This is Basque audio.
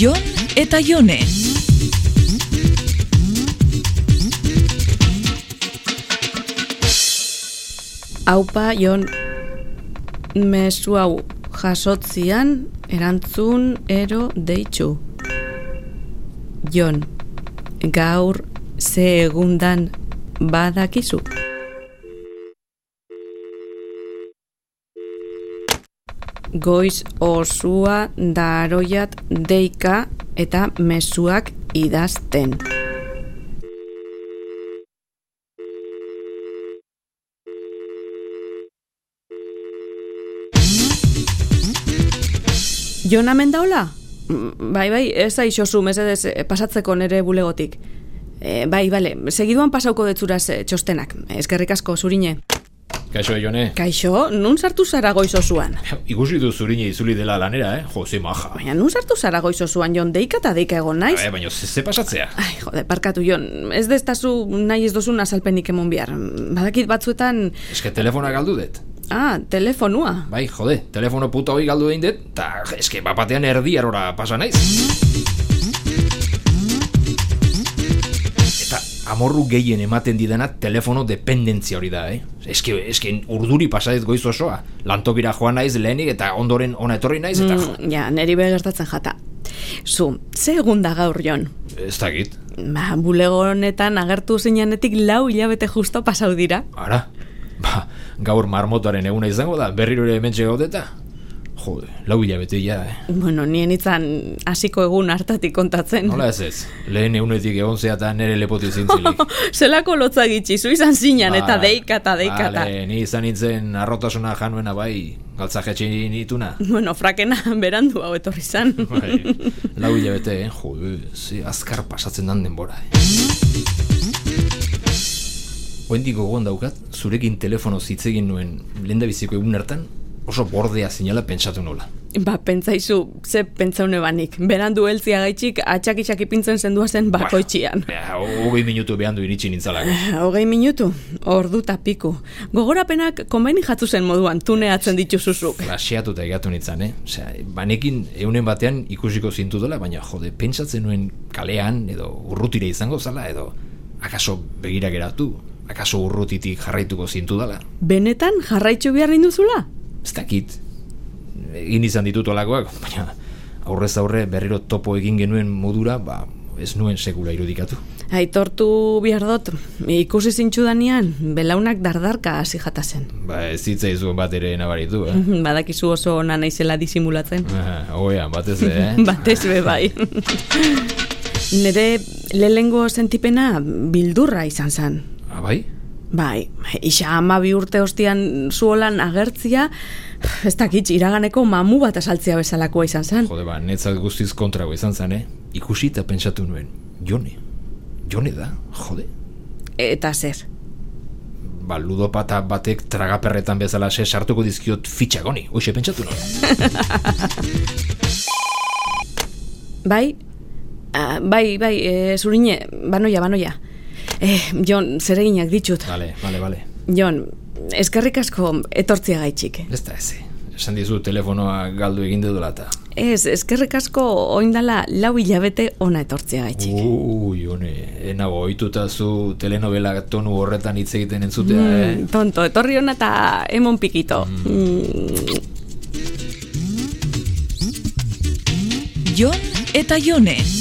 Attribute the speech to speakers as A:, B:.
A: Jon eta Jone.
B: Aupa, Jon, mesu hau jasotzian, erantzun, ero, deitxu. Jon, gaur ze egundan badakizu. Goiz osua daroiat deika eta mesuak idazten. Jon hemen daula? Mm, Bai, bai, ez aixozu, mesedez, eh, pasatzeko nere bulegotik. E, bai, bale, segiduan pasauko detzuraz eh, txostenak. Eskerrik asko, zurine.
C: Kaixo, Jone.
B: Kaixo, nun sartu zara goiz osuan?
C: Ikusi du zurine itzuli dela lanera, eh? Jose maja.
B: Baina, nun sartu zara goiz osuan, Jon, deika eta deika egon naiz?
C: Eh, baina ze, ze pasatzea?
B: Ai, jode, parkatu, Jon, ez destazu nahi ez duzun azalpenik emon bihar. Badakit batzuetan,
C: Eske telefona galdu dut.
B: ah, telefonua.
C: Bai, jode, telefono puta hori galdu egin dut, eta eske bapatean erdi arora pasa naiz. Eta amorru gehien ematen didana telefono dependentzia hori da, eh? Eske, eske urduri pasadez goiz osoa. Lantokira joan naiz lehenik eta ondoren ona etorri naiz eta... jo,
B: Mm, ja, neri be gertatzen jata. Zu, ze egun da gaur, Jon?
C: Ez dakit.
B: Ba, bulego honetan agertu zinenetik lau hilabete justo pasau dira.
C: Ara, ba, gaur marmotoaren eguna izango da, berriro ere hemen gaudeta. Jode, lau hilabete ja, eh.
B: Bueno, nien itzan hasiko egun hartatik kontatzen.
C: Nola ez ez, lehen egunetik egon zeatan nere lepotik zintzilik.
B: Zelako lotza gitxi, zu izan zinan, eta
C: Bai,
B: deika eta deika eta...
C: Bale, ni izan nintzen arrotasuna januena bai, galtzajetxe nituna.
B: Bueno, frakena berandu hau etorri zan.
C: Bai, lau hilabete, eh, jode, ze azkar pasatzen dan denbora, eh. Oendik gogoan daukat, zurekin telefono zitzegin nuen lehendabiziko egun hartan, oso bordea zinala pentsatu nola.
B: ba, pentsaizu, ze pentsaune banik. Berandu heltzia gaitxik, atxakitxak ipintzen zendua zen bakoitxian.
C: Ja, hogei minutu behan du iritsi nintzalako.
B: Hogei minutu, ordu ta piku. Gogorapenak konbeni jatzu zen moduan, tuneatzen dituzuzuk.
C: Flasheatuta egatu nintzen, eh? Osea, banekin eunen batean ikusiko zintu dela, baina jode, pentsatzen nuen kalean, edo urrutire izango zala, edo akaso begira geratu, akaso urrutitik jarraituko zintu dela.
B: Benetan jarraitxu behar induzula?
C: Ez dakit, egin izan ditut olakoak, baina aurrez aurre berriro topo egin genuen modura, ba, ez nuen sekula irudikatu.
B: Aitortu behar dut, ikusi zintxudanean, belaunak dardarka hasi jata zen.
C: Ba, ez zitzaizuen bat ere nabaritu, eh?
B: Badakizu oso ona naizela disimulatzen.
C: Ah, Oean, batez ere, eh?
B: Batez be bai. Nere lehengo sentipena bildurra izan zen.
C: Ah, bai?
B: Bai, isa ama bi urte ostian zuolan agertzia, ez dakit iraganeko mamu bat asaltzia bezalakoa izan zen.
C: Jode, ba, netzat guztiz kontrago izan zan, eh? Ikusi eta pentsatu nuen. Jone. Jone da, jode.
B: Eta zer,
C: Ba, ludopata batek tragaperretan bezala se sartuko dizkiot fitxak honi. Hoxe, pentsatu nuen.
B: bai? Ah, bai, bai, e, zurine, banoia, banoia. Eh, Jon, zereginak ditut.
C: Bale, bale, bale.
B: Jon, eskerrik asko etortzia gaitxik.
C: Ez da, ez. eh. Esan dizu telefonoa galdu egin dedula eta.
B: Ez, eskerrik asko oindala lau hilabete ona etortzia gaitxik.
C: Oh. Uu, Jone, enago ohituta zu telenovela tonu horretan hitz egiten entzutea,
B: Mm,
C: eh?
B: Tonto, etorri ona eta emon pikito. Mm.
A: Jon eta Jone.